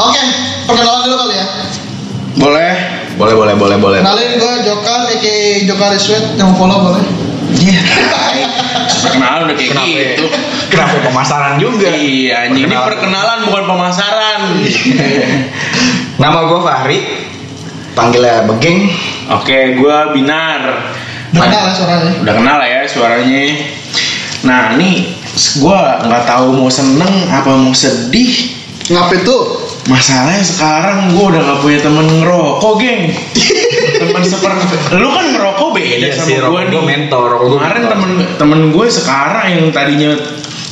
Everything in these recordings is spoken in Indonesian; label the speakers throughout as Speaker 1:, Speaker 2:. Speaker 1: Oke, perkenalan dulu kali ya.
Speaker 2: Boleh.
Speaker 3: Boleh, boleh, boleh, boleh.
Speaker 1: Kenalin gue Jokar, aka Jokar Iswet, yang follow boleh. Iya.
Speaker 4: Perkenalan udah kayak
Speaker 3: Kenapa?
Speaker 4: gitu.
Speaker 3: Kenapa pemasaran juga?
Speaker 4: Iya, anjing ini
Speaker 3: Perkenalan.
Speaker 4: perkenalan bukan pemasaran.
Speaker 3: Nama gue Fahri. Panggilnya Begeng.
Speaker 4: Oke, gua Binar.
Speaker 1: Udah
Speaker 4: Nah,
Speaker 1: kenal ya suaranya.
Speaker 4: Udah kenal lah ya suaranya. Nah, ini gua nggak tahu mau seneng apa mau sedih.
Speaker 1: Ngapa itu?
Speaker 4: Masalahnya sekarang gua udah gak punya temen ngerokok, geng. temen seperti lu kan ngerokok beda
Speaker 3: Iya
Speaker 4: sama
Speaker 3: sih,
Speaker 4: gua
Speaker 3: rokok
Speaker 4: nih.
Speaker 3: gua mentor, rokok gua
Speaker 4: Kemarin
Speaker 3: mentor.
Speaker 4: temen temen gue sekarang yang tadinya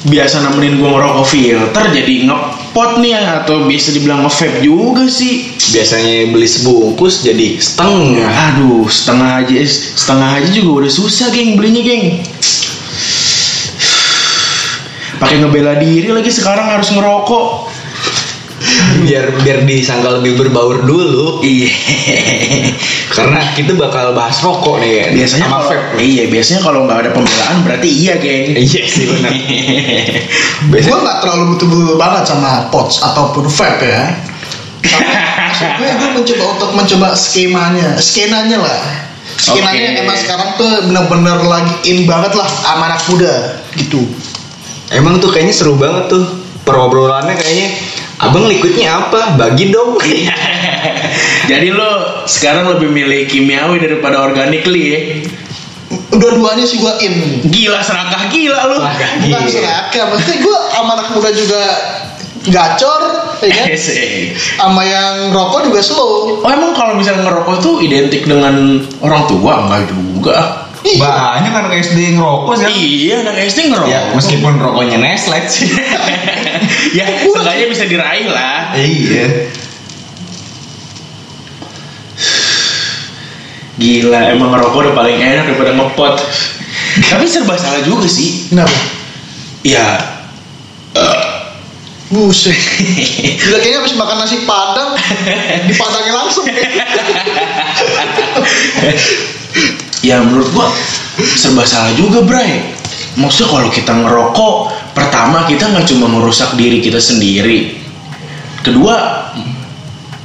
Speaker 4: biasa nemenin gua ngerokok filter jadi ngepot nih atau biasa dibilang nge-vape juga sih.
Speaker 3: Biasanya beli sebungkus jadi setengah.
Speaker 4: Aduh, setengah aja eh, setengah aja juga udah susah, geng, belinya, geng. Pakai ngebela diri lagi sekarang harus ngerokok.
Speaker 3: Biar biar disangka lebih berbaur dulu.
Speaker 4: Iya.
Speaker 3: Karena kita bakal bahas rokok nih kan.
Speaker 4: biasanya
Speaker 3: sama
Speaker 4: kalau
Speaker 3: vape.
Speaker 4: iya biasanya kalau nggak ada pembelaan berarti iya geng
Speaker 3: Iya sih benar.
Speaker 1: Gue
Speaker 3: Biasanya
Speaker 1: nggak terlalu butuh-butuh banget sama pots ataupun vape ya. Tapi maksud gue gue mencoba untuk mencoba skemanya, skenanya lah. Skenanya
Speaker 4: Oke.
Speaker 1: emang sekarang tuh bener-bener lagi in banget lah sama anak muda gitu.
Speaker 3: emang tuh kayaknya seru banget tuh. Perobrolannya kayaknya Abang liquidnya apa? Bagi dong.
Speaker 4: Iya. jadi lo sekarang lebih milih kimiawi daripada organik li ya
Speaker 1: Dua-duanya sih gue in.
Speaker 4: gila serakah gila lo
Speaker 3: Serakah.
Speaker 1: Bukan
Speaker 3: Iya.
Speaker 1: serakah, maksudnya gue sama anak muda juga gacor, ya kan? Sama yang rokok juga slow.
Speaker 4: eh. oh emang kalau misalnya ngerokok tuh identik dengan orang tua nggak juga
Speaker 1: Iya.
Speaker 2: Banyak anak SD ngerokok sih.
Speaker 4: iya anak SD ngerokok
Speaker 2: Ya, meskipun rokoknya Nestle sih.
Speaker 4: ya seenggaknya bisa diraih lah
Speaker 2: iya.
Speaker 4: gila emang ngerokok udah paling enak daripada ngepot tapi serba salah juga sih
Speaker 1: Kenapa?
Speaker 4: ya
Speaker 1: Buset. Gila kayaknya habis makan nasi padang, dipadangin langsung.
Speaker 4: ya menurut gua serba salah juga Bray maksudnya kalau kita ngerokok pertama kita nggak cuma merusak diri kita sendiri kedua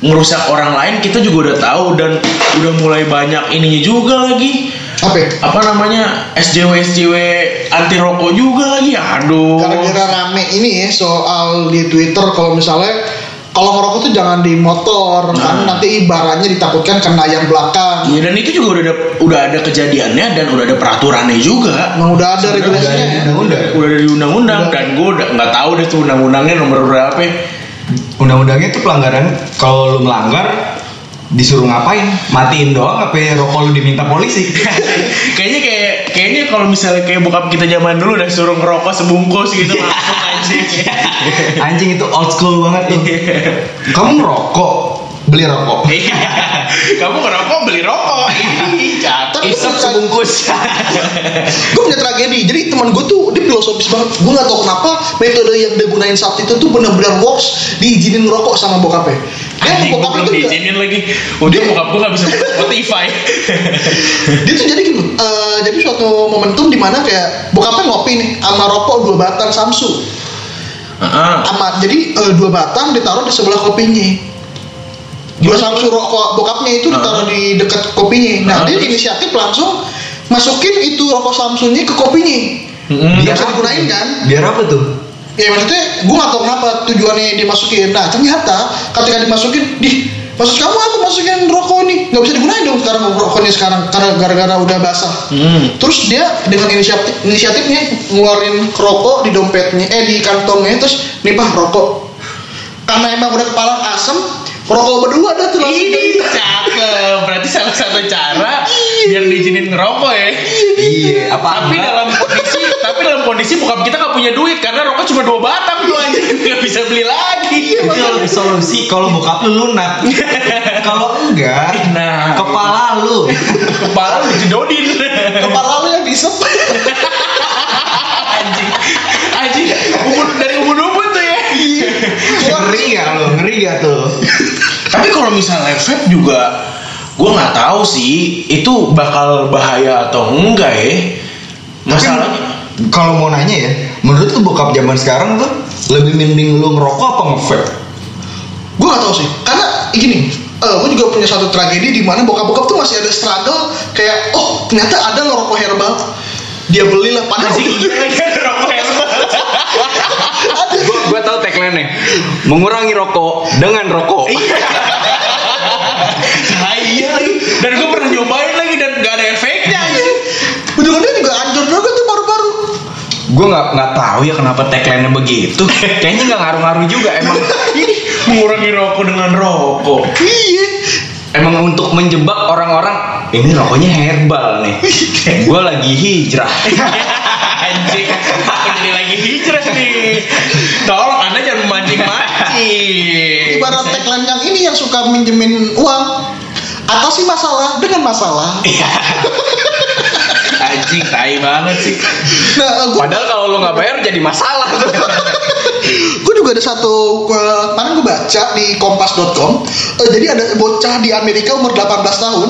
Speaker 4: merusak orang lain kita juga udah tahu dan udah mulai banyak ininya juga lagi
Speaker 1: Apa? ya?
Speaker 4: apa namanya SJW SJW anti rokok juga lagi aduh
Speaker 1: Gara-gara rame ini ya soal di Twitter kalau misalnya kalau ngerokok tuh jangan di motor
Speaker 4: Nah.
Speaker 1: karena nanti ibaratnya ditakutkan kena yang belakang.
Speaker 4: Ya, dan itu juga udah ada, udah ada kejadiannya dan udah ada peraturannya juga
Speaker 1: Emang udah ada regulasinya. ya?
Speaker 2: Undang-undang.
Speaker 4: udah ada di undang-undang
Speaker 1: Udah.
Speaker 4: dan gue udah nggak tahu deh tuh undang-undangnya nomor berapa
Speaker 2: Undang-undangnya tuh pelanggaran kalau lu melanggar disuruh ngapain? Matiin doang apa ya? rokok lu diminta polisi?
Speaker 4: kayaknya kayak kayaknya kalau misalnya kayak bokap kita zaman dulu udah suruh ngerokok sebungkus gitu langsung anjing
Speaker 2: Anjing itu old school banget tuh. Kamu ngerokok, beli rokok.
Speaker 4: Iya. kamu ngerokok beli rokok
Speaker 1: Tapi
Speaker 4: Isep
Speaker 1: gua- gue punya tragedi jadi teman gue tuh dia filosofis banget gue nggak tahu kenapa metode yang dia gunain saat itu tuh bener-bener works diizinin ngerokok sama bokapnya dia
Speaker 4: anjing gue
Speaker 1: bokapnya
Speaker 4: belum
Speaker 1: tuh nggak-
Speaker 4: diizinin lagi udah
Speaker 1: Dia-
Speaker 4: bokap gue gak bisa buka Spotify
Speaker 1: dia tuh jadi gitu eh, jadi suatu momentum dimana kayak bokapnya ngopi nih sama rokok dua batang samsu
Speaker 4: Heeh.
Speaker 1: sama jadi eh, dua batang ditaruh di sebelah kopinya dua samsu rokok bokapnya itu ditaruh di dekat kopinya nah
Speaker 4: Ah,
Speaker 1: dia
Speaker 4: terus?
Speaker 1: inisiatif langsung masukin itu rokok samsunya ke kopinya
Speaker 4: Mm-mm.
Speaker 1: Biar bisa digunain kan?
Speaker 2: Biar apa tuh?
Speaker 1: Ya maksudnya gue gak tau kenapa tujuannya dimasukin Nah ternyata ketika dimasukin di Maksud kamu apa masukin rokok ini? Gak bisa digunain dong sekarang rokok ini sekarang Karena gara-gara udah basah
Speaker 4: Hmm.
Speaker 1: Terus dia dengan inisiatif, inisiatifnya ngeluarin rokok di dompetnya Eh di kantongnya terus nih Pak, rokok Karena emang udah kepala asem Rokok berdua ada tuh langsung
Speaker 4: ini
Speaker 1: jadi-
Speaker 4: cakep berarti salah satu cara biar diizinin ngerokok ya
Speaker 2: Iya, apa
Speaker 4: tapi
Speaker 2: enggak?
Speaker 4: dalam kondisi tapi dalam kondisi bokap kita gak punya duit karena rokok cuma dua batang tuh anjing nggak bisa beli lagi
Speaker 2: itu
Speaker 4: kan?
Speaker 2: lebih solusi kalau bokap lu lunak kalau enggak
Speaker 4: Nah.
Speaker 2: kepala lu
Speaker 4: kepala lu dijedodin
Speaker 1: Kepala lu yang disep
Speaker 4: anjing anjing umur dari umur 20 tuh ya
Speaker 2: ngeri gak lu ngeri gak tuh
Speaker 4: tapi kalau misalnya vape juga gue nggak tahu sih itu bakal bahaya atau enggak ya masalahnya
Speaker 2: Tapi, kalau mau nanya ya menurut lu bokap zaman sekarang tuh lebih mending lu ngerokok apa ngevape
Speaker 1: gue gak tau sih karena eh, gini eh gue juga punya satu tragedi di mana bokap-bokap tuh masih ada struggle kayak oh ternyata ada loh rokok herbal dia belilah padahal
Speaker 2: Gua gua tahu tagline nya Mengurangi rokok dengan rokok.
Speaker 4: Nah, iya lagi. Dan gue pernah nyobain lagi dan gak ada efeknya. anjing.
Speaker 1: Ya, iya. ujung-ujungnya juga ancur juga tuh baru-baru
Speaker 2: Gua nggak nggak tahu ya kenapa tagline nya begitu. Kayaknya nggak ngaruh-ngaruh juga emang.
Speaker 4: Ini mengurangi rokok dengan rokok.
Speaker 1: iya
Speaker 2: Emang untuk menjebak orang-orang ini rokoknya herbal nih.
Speaker 1: Iya.
Speaker 2: Gua lagi hijrah.
Speaker 4: Anjing, ini lagi hijrah nih. Tolong Anda jangan memancing-mancing.
Speaker 1: ibarat tagline yang ini yang suka minjemin uang atasi masalah dengan masalah
Speaker 4: Anjing, tai banget sih.
Speaker 1: nah gue
Speaker 2: Padahal kalau lu nggak bayar jadi masalah tuh.
Speaker 1: gue juga ada satu eh, kemarin gue baca di kompas.com eh, jadi ada bocah di Amerika umur 18 tahun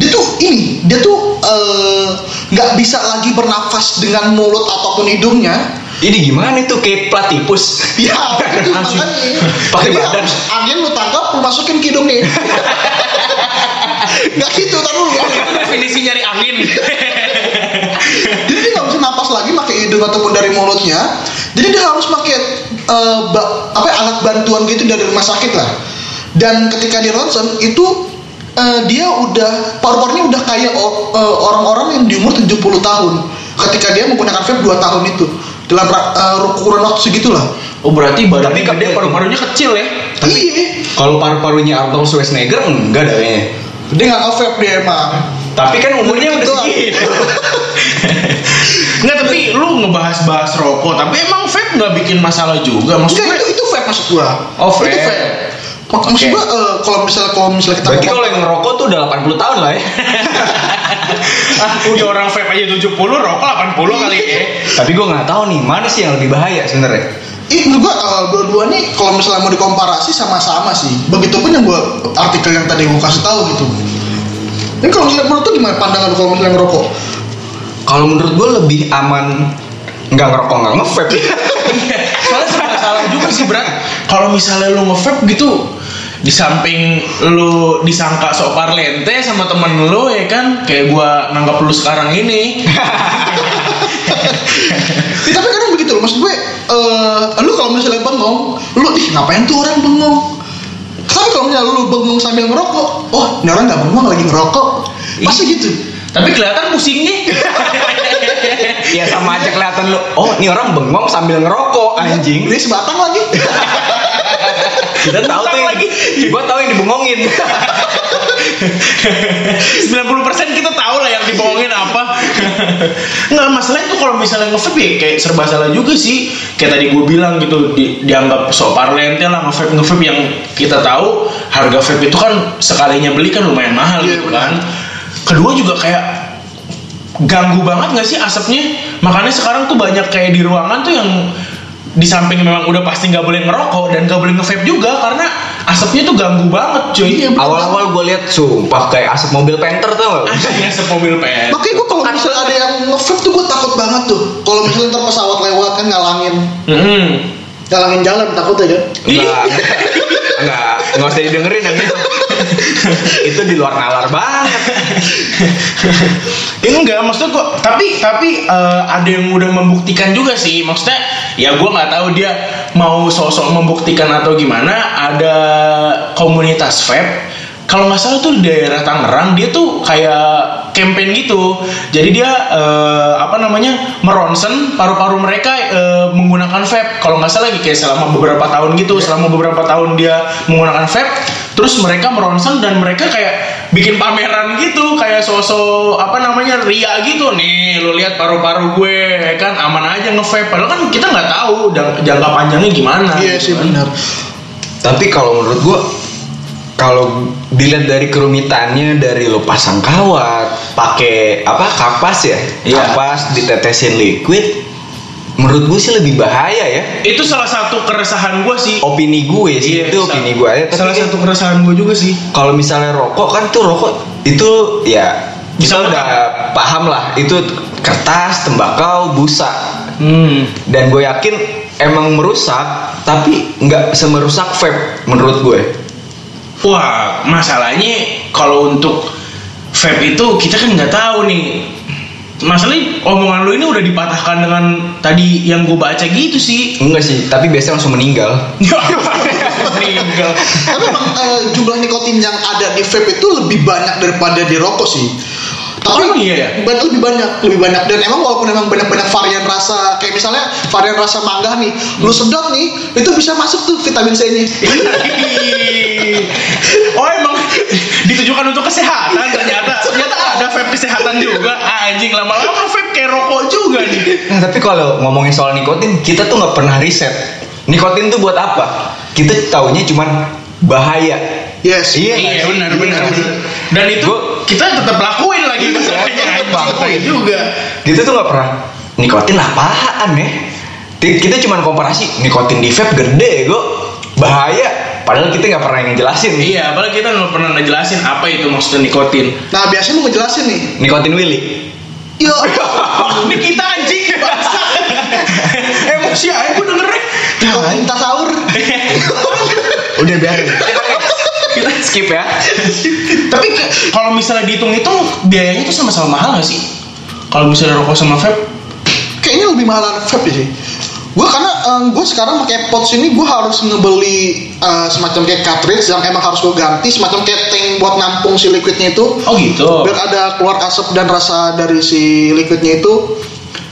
Speaker 1: dia tuh ini dia tuh eh, nggak bisa lagi bernafas dengan mulut ataupun hidungnya
Speaker 2: Ini gimana itu kayak platipus?
Speaker 1: ya itu makanya
Speaker 2: Pakai
Speaker 1: Jadi
Speaker 2: badan.
Speaker 1: harus angin lu tangkap lu masukin ke hidungnya nggak gitu tar dulu
Speaker 4: Definisi nyari angin.
Speaker 1: jadi dia nggak bisa napas lagi pakai hidung ataupun dari mulutnya jadi dia harus pakai eh, ba- apa ya, alat bantuan gitu dari rumah sakit lah dan ketika di ronsen itu eh, dia udah paru-parunya udah kayak o- eh, orang-orang yang di umur 70 tahun ketika dia menggunakan vape 2 tahun itu dalam ra- eh, ukuran waktu segitulah
Speaker 4: Oh berarti
Speaker 2: Tapi
Speaker 4: badannya
Speaker 2: kan
Speaker 4: gede,
Speaker 2: dia
Speaker 4: paru-parunya kecil ya?
Speaker 1: iya
Speaker 2: Kalau paru-parunya Arnold Schwarzenegger enggak ada kayaknya.
Speaker 1: dia nggak nge-vape dia emang
Speaker 2: Tapi kan umurnya udah
Speaker 1: Betul.
Speaker 2: segitu.
Speaker 4: Nggak, tapi lu ngebahas-bahas rokok, tapi emang vape nggak bikin masalah juga.
Speaker 1: Enggak,
Speaker 4: Maksudnya
Speaker 1: itu, itu vape maksud gua
Speaker 2: Oh, vape.
Speaker 1: itu vape Mak- maksud
Speaker 2: Oke.
Speaker 1: gua eh, kalau misalnya kalau misalnya kita
Speaker 2: Berarti kalau yang ngerokok tuh udah 80 tahun lah ya.
Speaker 4: ah, udah orang vape aja 70, rokok 80 kali ya.
Speaker 2: Tapi gue nggak tahu nih mana sih yang lebih bahaya sebenarnya.
Speaker 1: Ih, menurut gua eh, dua-dua nih kalau misalnya mau dikomparasi sama-sama sih. Begitupun yang gua artikel yang tadi gua kasih tahu gitu. Ini kalau misalnya menurut tuh gimana pandangan lu kalau misalnya ngerokok?
Speaker 2: Kalau menurut gue lebih aman nggak ngerokok nggak ngevape.
Speaker 4: Iya, Soalnya serba salah juga sih, Brat. Kalau misalnya lu nge-vape gitu, di samping lu disangka sok parlente sama temen lu ya kan kayak gua nanggap lu sekarang ini
Speaker 1: Ih, Ya, tapi kadang begitu loh, maksud gue eh lu kalau misalnya bengong, lu ih ngapain tuh orang bengong? Tapi kalau misalnya lu bengong sambil ngerokok, oh ini orang nggak bengong lagi ngerokok. Pasti gitu.
Speaker 4: tapi kelihatan pusingnya
Speaker 2: ya sama aja kelihatan lu. Oh ini orang bengong sambil ngerokok
Speaker 1: Ini
Speaker 2: anjing.
Speaker 1: ya? sebatang lagi.
Speaker 2: Kita tahu tuh yang lagi. Gue tahu yang dibengongin.
Speaker 4: 90% kita tahu lah yang dibohongin apa nggak masalahnya tuh kalau misalnya nge-vape ya kayak serba salah juga sih kayak tadi gue bilang gitu di- dianggap sok parlente lah nge-vape nge-vape yang kita tahu harga vape itu kan sekalinya beli kan lumayan mahal
Speaker 1: Iya,
Speaker 4: gitu
Speaker 1: benar.
Speaker 4: kan kedua juga kayak ganggu banget nggak sih asapnya makanya sekarang tuh banyak kayak di ruangan tuh yang di samping memang udah pasti nggak boleh ngerokok dan nggak boleh nge-vape juga karena asapnya tuh ganggu banget cuy
Speaker 1: Iya, bener.
Speaker 2: Awal-awal gue lihat sumpah kayak asap mobil Panther tuh.
Speaker 4: Asapnya semobil PS
Speaker 1: Makanya gue kalau misalnya ada yang nge-vape tuh gue takut banget tuh. Kalau misalnya ntar pesawat lewat kan ngalangin
Speaker 4: Mm-mm.
Speaker 1: ngalangin jalan takutnya kan.
Speaker 4: Iya.
Speaker 2: Enggak, enggak, enggak usah didengerin yang itu. itu di luar nalar banget.
Speaker 4: ya enggak maksudnya kok tapi tapi eh, ada yang udah membuktikan juga sih maksudnya ya gue nggak tahu dia mau sosok membuktikan atau gimana ada komunitas vape kalau nggak salah tuh di daerah Tangerang dia tuh kayak campaign gitu jadi dia eh, apa namanya meronsen paru-paru mereka eh, menggunakan vape kalau nggak salah kayak selama beberapa tahun gitu selama beberapa tahun dia menggunakan vape terus mereka meronsen dan mereka kayak bikin pameran gitu kayak sosok apa namanya ria gitu nih lu lihat paru-paru gue ya kan aman aja ngevape padahal kan kita nggak tahu jang- jangka panjangnya gimana
Speaker 1: Iya sih
Speaker 4: gitu kan.
Speaker 1: benar.
Speaker 2: Tapi kalau menurut gua kalau dilihat dari kerumitannya dari lo pasang kawat, pakai apa kapas ya?
Speaker 4: Iya.
Speaker 2: Kapas ditetesin liquid. Menurut gue sih lebih bahaya ya.
Speaker 4: itu salah satu keresahan gue sih
Speaker 2: Opini gue sih
Speaker 4: Iya,
Speaker 2: itu
Speaker 4: sa-
Speaker 2: opini gue aja. Tapi kan
Speaker 4: salah satu keresahan gue juga sih
Speaker 2: kalau misalnya rokok kan tuh rokok itu ya
Speaker 4: Bisa
Speaker 2: kita udah paham lah itu kertas, tembakau, busa.
Speaker 4: hmm
Speaker 2: dan gue yakin emang merusak tapi nggak semerusak vape menurut gue.
Speaker 4: Wah, masalahnya kalau untuk vape itu kita kan nggak tahu nih. Masalahnya omongan lu ini udah dipatahkan dengan tadi yang gue baca gitu sih.
Speaker 2: Enggak sih, tapi biasanya langsung meninggal.
Speaker 4: Meninggal.
Speaker 1: Tapi emang eh, jumlah nikotin yang ada di vape itu lebih banyak daripada di rokok sih. Tapi
Speaker 4: Oh, iya ya?
Speaker 1: ban- lebih banyak, lebih banyak dan emang walaupun emang banyak-banyak varian rasa kayak misalnya varian rasa mangga nih, lu
Speaker 4: Hmm.
Speaker 1: sedot nih, itu bisa masuk tuh vitamin C-nya.
Speaker 4: oh emang ditujukan untuk kesehatan ternyata ternyata ada vape kesehatan juga anjing lama-lama vape kayak rokok juga nih
Speaker 2: Nah, tapi kalau ngomongin soal nikotin, kita tuh nggak pernah riset. Nikotin tuh buat apa? Kita taunya cuman bahaya.
Speaker 1: Yes.
Speaker 4: iya
Speaker 2: Iya, nggak sih?
Speaker 4: benar
Speaker 2: Iya
Speaker 4: benar
Speaker 2: nggak sih?
Speaker 4: dan itu
Speaker 2: Gua- Iya,
Speaker 4: kita tetap lakuin lagi masalahnya
Speaker 2: tetap
Speaker 4: lakuin
Speaker 2: lakuin.
Speaker 4: juga
Speaker 2: Gitu tuh nggak pernah. Nikotin apaan ya? Ti- Kita cuman komparasi nikotin di vape gede, go bahaya. Padahal kita nggak pernah ngejelasin nih.
Speaker 4: iya apalagi kita nggak pernah ngejelasin apa itu maksudnya nikotin
Speaker 1: Nah, biasanya mau ngejelasin nih.
Speaker 2: Nikotin Willy.
Speaker 1: Yo.
Speaker 2: Ah.
Speaker 4: ini kita anjing bangsa emosi aja gue dengerin
Speaker 1: Nikotin tasawur.
Speaker 2: Udah biarin. kita skip ya.
Speaker 4: tapi ke- kalau misalnya dihitung-hitung biayanya itu sama-sama mahal gak sih kalau misalnya rokok sama vape
Speaker 1: Kayaknya lebih mahalan vape sih. Gue karena gue sekarang pakai pods ini gue harus ngebeli eh, semacam kayak cartridge yang emang harus gue ganti semacam kayak tank buat nampung si liquidnya itu.
Speaker 4: oh gitu
Speaker 1: biar ada keluar asap dan rasa dari si liquidnya itu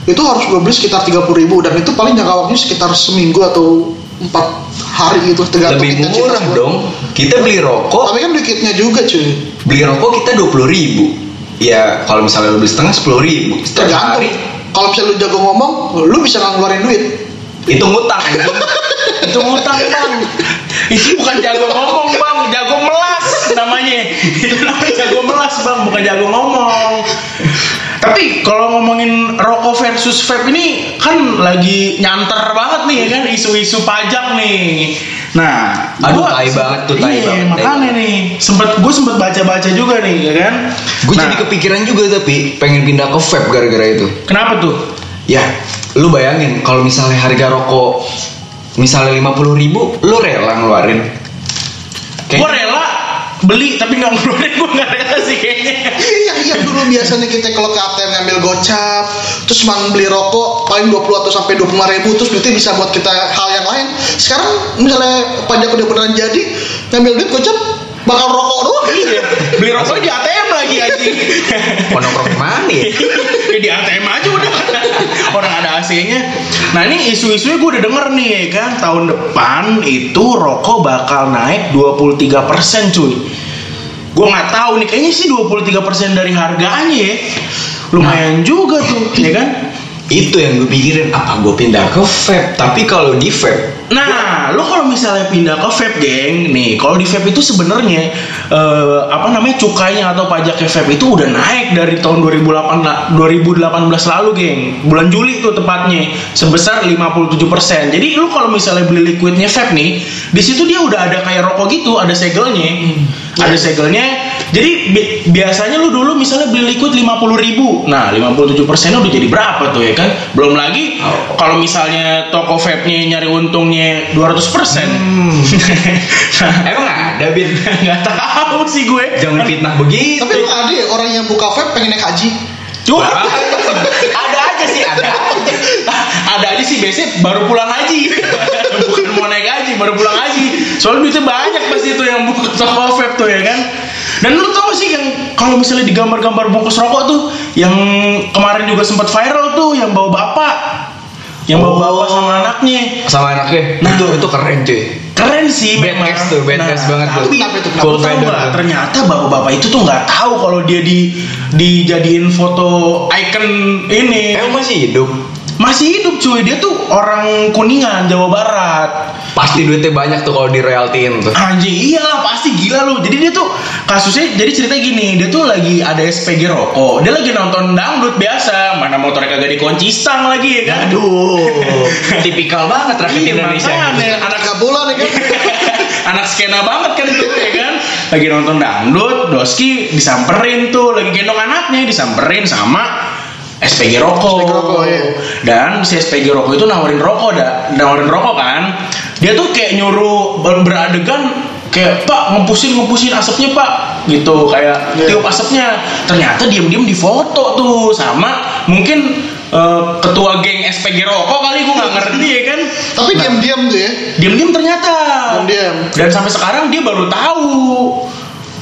Speaker 1: itu harus gue beli sekitar 30.000 ribu dan itu paling jangka waktunya sekitar seminggu atau empat hari gitu tergantung
Speaker 2: Lebih
Speaker 1: intensitas
Speaker 2: murah
Speaker 1: gua.
Speaker 2: dong. Kita beli rokok
Speaker 1: tapi kan liquidnya juga cuy
Speaker 2: beli rokok kita dua puluh ribu ya kalau misalnya lu beli setengah sepuluh ribu setengah
Speaker 1: tergantung
Speaker 2: hari
Speaker 1: kalau misalnya lu jago ngomong lu bisa nggak ngeluarin duit
Speaker 2: itu ngutang
Speaker 4: itu ngutang bang itu bukan jago ngomong bang jago melas namanya itu namanya jago melas bang bukan jago ngomong tapi kalau ngomongin rokok versus vape ini kan lagi nyanter banget nih ya kan isu-isu pajak nih nah
Speaker 2: Aduh,
Speaker 4: gua
Speaker 2: tai
Speaker 4: sempet-
Speaker 2: banget tuh, tai
Speaker 4: iya,
Speaker 2: banget, tai
Speaker 4: makanya
Speaker 2: banget.
Speaker 4: nih sempet gue sempet baca-baca juga nih ya kan
Speaker 2: gue
Speaker 4: Nah,
Speaker 2: jadi kepikiran juga tapi pengen pindah ke vape gara-gara itu
Speaker 4: kenapa tuh
Speaker 2: ya lu bayangin kalau misalnya harga rokok misalnya lima puluh ribu lu rela ngeluarin
Speaker 4: gue
Speaker 2: Kayaknya-
Speaker 4: rela beli tapi nggak ngeluarin gue nggak rela sih kayaknya
Speaker 1: iya iya dulu biasanya kita kalau ke ATM ngambil gocap terus cuma beli rokok paling 20 atau sampai 25 ribu terus duitnya bisa buat kita hal yang lain sekarang misalnya pajak udah beneran jadi ngambil duit gocap bakal rokok doang
Speaker 4: Iya, beli rokok di ATM lagi anjing.
Speaker 2: mau nongkrong di mana ya?
Speaker 4: ya di ATM aja udah. Orang ada AC-nya. Nah, ini isu-isunya gue udah denger nih ya kan, tahun depan itu rokok bakal naik 23% cuy. Gue nggak tahu nih, kayaknya sih 23% dari harganya ya. Lumayan juga tuh, ya kan?
Speaker 2: itu yang gue pikirin apa gue pindah ke vape tapi kalau di vape
Speaker 4: Nah, lo kalau misalnya pindah ke vape, geng, nih, kalau di vape itu sebenarnya eh, apa namanya cukainya atau pajaknya vape itu udah naik dari tahun 2008 2018 lalu, geng. Bulan Juli itu tepatnya sebesar 57%. Jadi lo kalau misalnya beli liquidnya vape nih, di situ dia udah ada kayak rokok gitu, ada segelnya. Ada segelnya. Jadi bi- biasanya lu dulu misalnya beli liquid 50.000 Nah, 57% udah jadi berapa tuh ya kan? Belum lagi kalau misalnya toko vape-nya nyari untungnya 200%. nah,
Speaker 2: emang ada bin
Speaker 4: nggak tahu sih gue.
Speaker 2: Hmm.
Speaker 4: Kan
Speaker 2: jangan fitnah begitu
Speaker 1: Tapi emang ada ya orang yang buka vape pengen naik haji.
Speaker 4: Cuma
Speaker 2: ada aja sih ada aja
Speaker 4: ada aja sih biasanya baru pulang haji. Bukan mau naik haji, baru pulang haji. Soalnya duitnya banyak pasti itu yang buka toko vape tuh ya kan. Dan lu tau gak sih yang kalau misalnya di gambar-gambar bungkus rokok tuh yang kemarin juga sempat viral tuh yang bawa bapak yang bawa bapak sama anaknya
Speaker 2: sama anaknya
Speaker 4: Nah.
Speaker 2: itu itu keren cuy
Speaker 4: keren sih
Speaker 2: Bad
Speaker 4: memang. Nah,
Speaker 2: case tuh, bad case banget tuh.
Speaker 4: tapi
Speaker 1: Kenapa itu?
Speaker 4: Aku
Speaker 2: Full
Speaker 4: tahu
Speaker 2: feather
Speaker 4: nggak?
Speaker 2: tuh.
Speaker 4: ternyata bapak-bapak itu tuh nggak tahu kalau dia di dijadiin foto icon ini
Speaker 2: emang masih hidup
Speaker 4: masih hidup cuy dia tuh orang kuningan Jawa Barat
Speaker 2: pasti duitnya banyak tuh kalau direaltiin tuh
Speaker 4: anjing iyalah pasti gila lu jadi dia tuh kasusnya jadi cerita gini dia tuh lagi ada SPG rokok dia lagi nonton dangdut biasa mana motornya kagak dikunci stang lagi ya kan
Speaker 2: aduh tipikal banget rakyat
Speaker 4: Iya,
Speaker 2: Indonesia
Speaker 4: makanya anak Iya.
Speaker 1: Agak bola nih kan.
Speaker 4: anak skena banget kan itu ya kan lagi nonton dangdut doski disamperin tuh lagi gendong anaknya disamperin sama SPG rokok,
Speaker 1: SPG rokok, iya.
Speaker 4: dan si SPG rokok itu nawarin rokok dah nawarin rokok kan dia tuh kayak nyuruh ber- beradegan kayak pak ngepusin ngepusin asapnya pak gitu kayak
Speaker 1: Iya.
Speaker 4: tiup asapnya ternyata diem-diem difoto tuh sama mungkin eh, ketua geng SPG rokok kali gue nggak ngerti ya kan
Speaker 1: Tapi diam-diam tuh ya.
Speaker 4: diem-diem ternyata
Speaker 1: Diam-diam.
Speaker 4: dan sampai sekarang dia baru tahu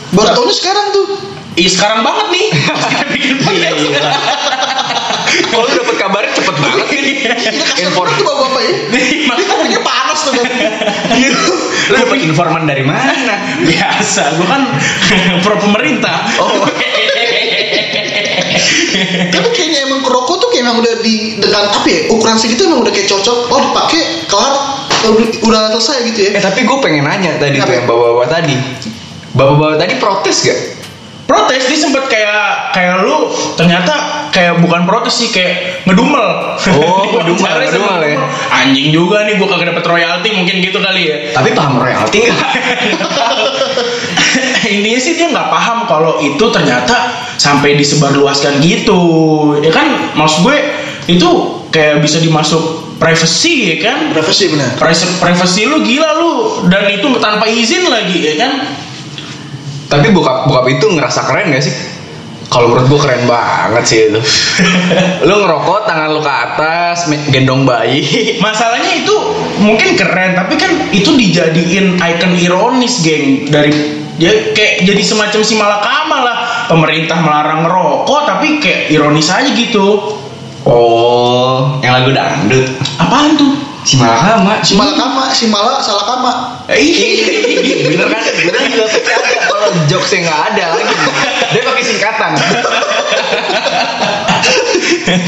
Speaker 4: Nah.
Speaker 1: Baru taunya sekarang tuh.
Speaker 4: Ih sekarang banget nih Pas kita bikin
Speaker 2: Iya,
Speaker 4: podcast.
Speaker 2: Kalau lu dapet kabarnya cepet banget kan?
Speaker 1: Kita kasih informasi
Speaker 2: Inform-
Speaker 1: Iya, tuh bapak-bapak ya.
Speaker 4: Nih,
Speaker 1: Dia kopernya panas tuh.
Speaker 2: Lu dapet informan dari mana?
Speaker 4: Biasa, gue kan pro pemerintah.
Speaker 2: Oh.
Speaker 1: Tapi kayaknya emang kerokok tuh kayak emang udah di dengan apa ya ukuran segitu emang udah kayak cocok. Oh dipakai kelar udah- udah selesai gitu ya.
Speaker 2: Eh tapi gue pengen nanya tadi
Speaker 1: Apa?
Speaker 2: tuh yang bawa-bawa tadi. Bawa-bawa tadi protes gak?
Speaker 4: protes dia sempet kayak kayak lu ternyata kayak bukan protes sih kayak ngedumel.
Speaker 2: Oh,
Speaker 4: Di
Speaker 2: ngedumel,
Speaker 4: wawancara sempet
Speaker 2: ngedumel ya.
Speaker 4: ngedumel. Anjing juga nih gua kagak dapet royalti mungkin gitu kali ya.
Speaker 2: Tapi paham royalti gak?
Speaker 4: Intinya sih dia nggak paham kalau itu ternyata sampai disebarluaskan gitu. Ya kan maksud gue itu kayak bisa dimasuk privacy ya kan?
Speaker 1: Berapa sih benar?
Speaker 4: Privacy, privacy lu gila lu dan itu tanpa izin lagi ya kan?
Speaker 2: tapi bokap bokap itu ngerasa keren gak sih? Kalau menurut gue keren banget sih itu. lu ngerokok tangan lu ke atas, me- gendong bayi.
Speaker 4: Masalahnya itu mungkin keren, tapi kan itu dijadiin icon ironis, geng. Dari ya kayak jadi semacam si malakama lah. Pemerintah melarang ngerokok, tapi kayak ironis aja gitu.
Speaker 2: Oh, yang lagu dangdut.
Speaker 4: Apaan tuh?
Speaker 2: Si Malakama.
Speaker 1: Si Malakama, si Mala, salah kama.
Speaker 2: Ih, bener kan? Bener juga. Kalau jokes yang nggak ada lagi, dia pakai singkatan.
Speaker 1: Nah,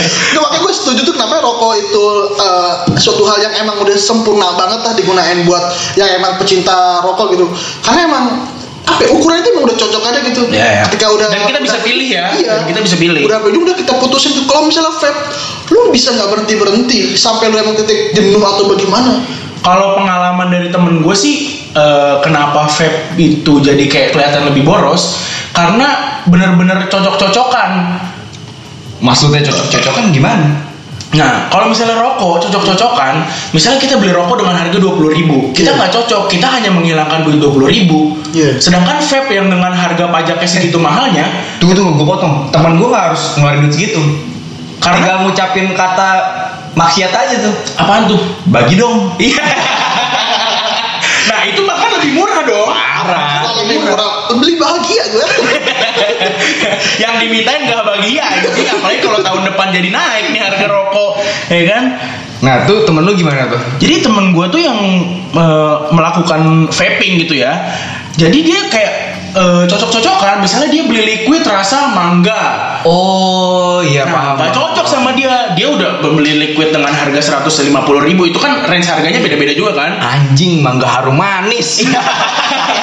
Speaker 1: makanya gue setuju tuh kenapa rokok itu eh, suatu hal yang emang udah sempurna banget lah digunain buat yang emang pecinta rokok gitu. Karena emang apa ya, ukuran itu emang udah cocok aja gitu.
Speaker 4: Iya, iya.
Speaker 1: Ketika udah
Speaker 4: Dan kita bisa
Speaker 1: udah-
Speaker 4: pilih ya.
Speaker 1: Iya.
Speaker 4: Dan kita bisa pilih.
Speaker 1: Udah apa aja, udah kita putusin tuh kalau misalnya vape lu bisa nggak berhenti berhenti sampai lu emang titik jenuh atau bagaimana?
Speaker 4: Kalau pengalaman dari temen gue sih, eh, kenapa vape itu jadi kayak kelihatan lebih boros? Karena bener-bener cocok-cocokan.
Speaker 2: Maksudnya cocok-cocokan gimana?
Speaker 4: Nah, kalau misalnya rokok cocok-cocokan, misalnya kita beli rokok dengan harga 20.000 ribu, kita
Speaker 1: Iya.
Speaker 4: nggak cocok, kita hanya menghilangkan duit 20.000 ribu.
Speaker 1: Iya. Eh.
Speaker 4: Sedangkan vape yang dengan harga pajaknya segitu mahalnya,
Speaker 2: Tunggu tunggu, gue potong. Teman gue nggak harus ngeluarin duit segitu.
Speaker 4: karena
Speaker 2: Tinggal ngucapin kata maksiat aja tuh.
Speaker 4: apaan tuh?
Speaker 2: Bagi dong.
Speaker 4: Iya. nah itu bahkan lebih murah dong.
Speaker 2: Iya.
Speaker 1: Kalau lebih murah, beli bahagia gue.
Speaker 4: yang dimintain nggak bahagia, gitu. apalagi kalau tahun depan jadi naik nih harga rokok, ya kan?
Speaker 2: Nah tuh temen lu gimana tuh?
Speaker 4: Jadi temen gue tuh yang eh, melakukan vaping gitu ya. Jadi dia kayak eh, cocok-cocokan. Misalnya dia beli liquid rasa mangga.
Speaker 2: Oh iya
Speaker 4: Nah, nggak cocok sama dia. Dia udah beli liquid dengan harga 150.000 ribu. Itu kan range harganya beda-beda juga kan.
Speaker 2: Anjing mangga harum manis.
Speaker 4: Iya.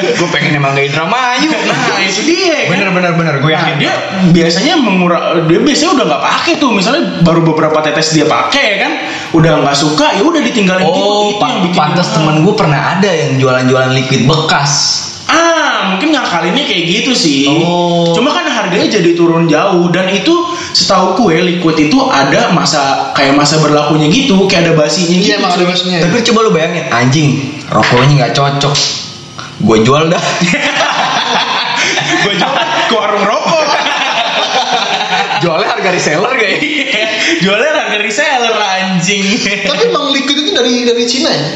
Speaker 2: gue pengen yang mangga Indramayu.
Speaker 4: Nah itu dia. kan?
Speaker 2: Bener bener bener gue
Speaker 4: Nah,
Speaker 2: yakin.
Speaker 4: dia biasanya mengura dia biasanya udah nggak pakai tuh misalnya baru beberapa tetes dia pakai ya kan udah nggak suka ya udah ditinggalin gitu.
Speaker 2: Oh,
Speaker 4: Itu
Speaker 2: pa-
Speaker 4: yang bikin
Speaker 2: pantas
Speaker 4: dia-
Speaker 2: temen gue pernah ada yang jualan-jualan liquid bekas.
Speaker 4: Ah, mungkin ngakalinnya kayak gitu sih.
Speaker 2: Oh.
Speaker 4: Cuma kan harganya jadi turun jauh dan itu setahu kue liquid itu ada masa kayak masa berlakunya gitu, kayak ada basinya gitu.
Speaker 1: Iya emang ada maksudnya.
Speaker 2: Tapi coba lu bayangin, anjing, rokoknya nggak cocok. Gue jual dah.
Speaker 4: Gue jual ke warung rokok.
Speaker 2: Jualnya harga reseller gak ya?
Speaker 4: Jualnya harga reseller anjing.
Speaker 1: Tapi emang liquid itu dari dari Cina ya.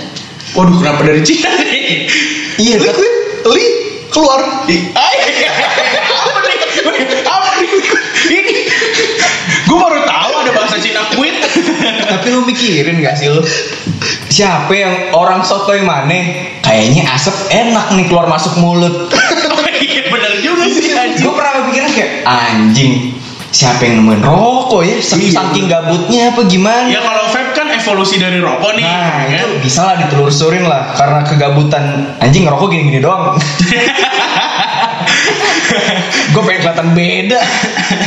Speaker 4: Waduh, kenapa dari Cina nih?
Speaker 2: Iya, kan?
Speaker 1: Liquid, li keluar.
Speaker 4: Ay, apa nih? Apa nih? Ini gue baru tahu ada bahasa Cina quit.
Speaker 2: Tapi lu mikirin gak sih lu? Siapa yang orang sotoy mana? Kayaknya asap enak nih keluar masuk mulut.
Speaker 4: Oh, iya bener juga sih anjing.
Speaker 2: Gue pernah kepikiran kayak anjing. Siapa yang nemuin rokok ya? Saking
Speaker 4: Iya.
Speaker 2: saking gabutnya apa gimana?
Speaker 4: Ya kalau vape kan evolusi dari rokok nih.
Speaker 2: Nah,
Speaker 4: ya
Speaker 2: itu
Speaker 4: kan?
Speaker 2: bisa lah ditelusurin lah karena kegabutan anjing ngerokok gini-gini doang. gue pengen kelihatan beda.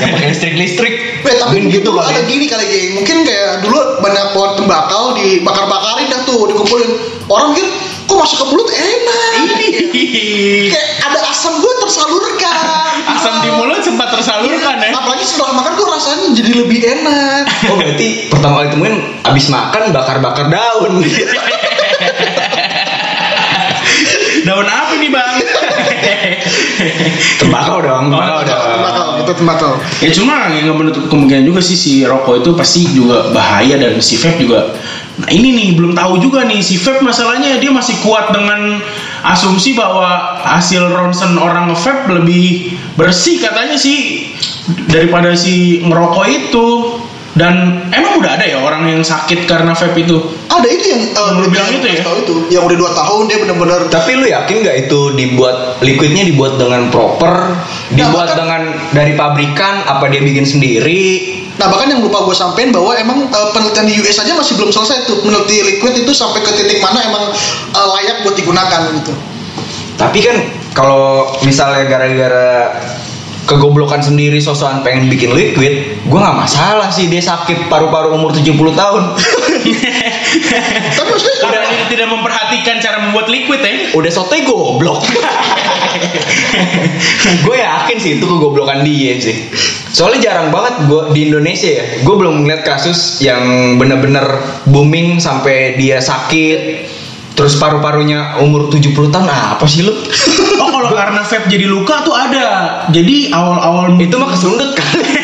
Speaker 2: Yang pakai listrik-listrik.
Speaker 1: Weh, Eh, tapi
Speaker 2: Mungkin
Speaker 1: mungkin
Speaker 2: gitu
Speaker 1: dulu
Speaker 2: kali.
Speaker 1: ada gini kali ya. geng. Mungkin kayak dulu banyak pohon tembakau dibakar-bakarin dah tuh dikumpulin. Orang mikir, kok masuk ke mulut enak.
Speaker 4: Iya. Ih,
Speaker 1: kayak ada asam gue tersalurkan.
Speaker 4: Asam di mulut sempat tersalurkan ya.
Speaker 1: Apalagi setelah makan tuh rasanya jadi lebih enak.
Speaker 2: Oh berarti pertama kali temuin abis makan bakar-bakar daun.
Speaker 4: daun apa nih bang?
Speaker 2: Tembakau dong, tembakau dong.
Speaker 1: tembakau itu tembakau
Speaker 4: ya cuma nggak menutup kemungkinan juga sih si rokok itu pasti juga bahaya dan si vape juga. Nah ini nih belum tahu juga nih si vape masalahnya dia masih kuat dengan asumsi bahwa hasil ronsen orang vape lebih bersih katanya sih daripada si ngerokok itu. Dan emang udah ada ya orang yang sakit karena vape itu?
Speaker 1: ada itu yang eh,
Speaker 4: lu
Speaker 1: lebih
Speaker 4: bilang
Speaker 1: dari
Speaker 4: itu ya?
Speaker 1: tahun itu yang udah dua tahun dia benar-benar
Speaker 2: Tapi lu yakin nggak itu dibuat liquidnya dibuat dengan proper, dibuat
Speaker 1: bahkan-
Speaker 2: dengan dari pabrikan, apa dia bikin sendiri?
Speaker 1: Nah bahkan yang lupa gue sampein bahwa emang eh, penelitian di US aja masih belum selesai tuh meneliti liquid itu sampai ke titik mana emang eh, layak buat digunakan gitu.
Speaker 2: Tapi kan kalau misalnya gara-gara kegoblokan sendiri sosokan pengen bikin liquid, gua nggak masalah sih dia sakit paru-paru umur 70 tahun.
Speaker 1: Tapi maksudnya
Speaker 4: Udah tidak memperhatikan cara membuat liquid ya?
Speaker 2: Udah sote goblok. gue yakin sih itu kegoblokan dia sih. Soalnya jarang banget gua di Indonesia ya. Gue belum ngeliat kasus yang bener-bener booming sampai dia sakit. Terus paru-parunya umur 70 tahun ah, apa sih lu?
Speaker 4: Oh kalau karena vape jadi luka tuh ada. Jadi awal-awal
Speaker 2: itu mah kesundut kali.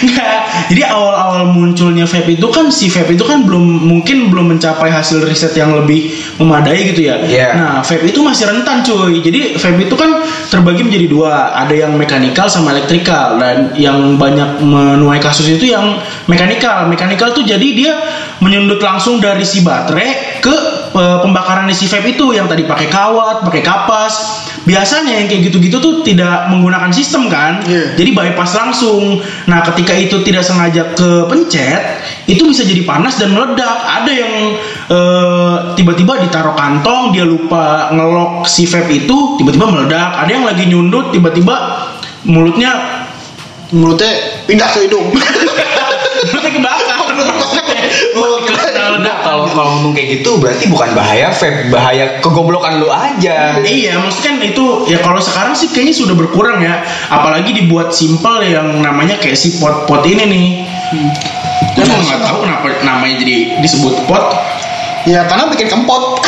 Speaker 4: Nggak. Nah, Jadi awal-awal munculnya vape itu kan si vape itu kan belum mungkin belum mencapai hasil riset yang lebih memadai gitu ya.
Speaker 2: Iya.
Speaker 4: Nah vape itu masih rentan cuy. Jadi vape itu kan terbagi menjadi dua. Ada yang mekanikal sama elektrikal dan yang banyak menuai kasus itu yang mekanikal. Mekanikal tuh jadi dia menyundut langsung dari si baterai ke eh, pembakaran si vape itu yang tadi pakai kawat, pakai kapas. Biasanya yang kayak gitu-gitu tuh tidak menggunakan sistem kan.
Speaker 1: Iya.
Speaker 4: Jadi bypass langsung. Nah, ketika itu tidak sengaja kepencet, itu bisa jadi panas dan meledak. Ada yang eh, tiba-tiba ditaruh kantong, dia lupa ngelok si vape itu, tiba-tiba meledak. Ada yang lagi nyundut, tiba-tiba mulutnya
Speaker 1: mulutnya pindah ke hidung.
Speaker 4: mulutnya kebakar.
Speaker 1: Mulut
Speaker 4: Kena
Speaker 1: kita-
Speaker 4: ledak.
Speaker 2: Kalau kalau ngomong kayak gitu berarti bukan bahaya vape, bahaya kegoblokan lu aja.
Speaker 4: Iya, maksudnya kan itu ya kalau sekarang sih kayaknya sudah berkurang ya. Apalagi dibuat simpel yang namanya kayak si pot-pot ini nih.
Speaker 1: Hmm.
Speaker 4: Gue juga nggak tahu kenapa namanya jadi disebut pot.
Speaker 1: ya karena bikin kempot.